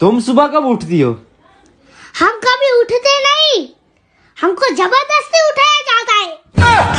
तुम सुबह कब उठती हो हम कभी उठते नहीं हमको जबरदस्ती उठाया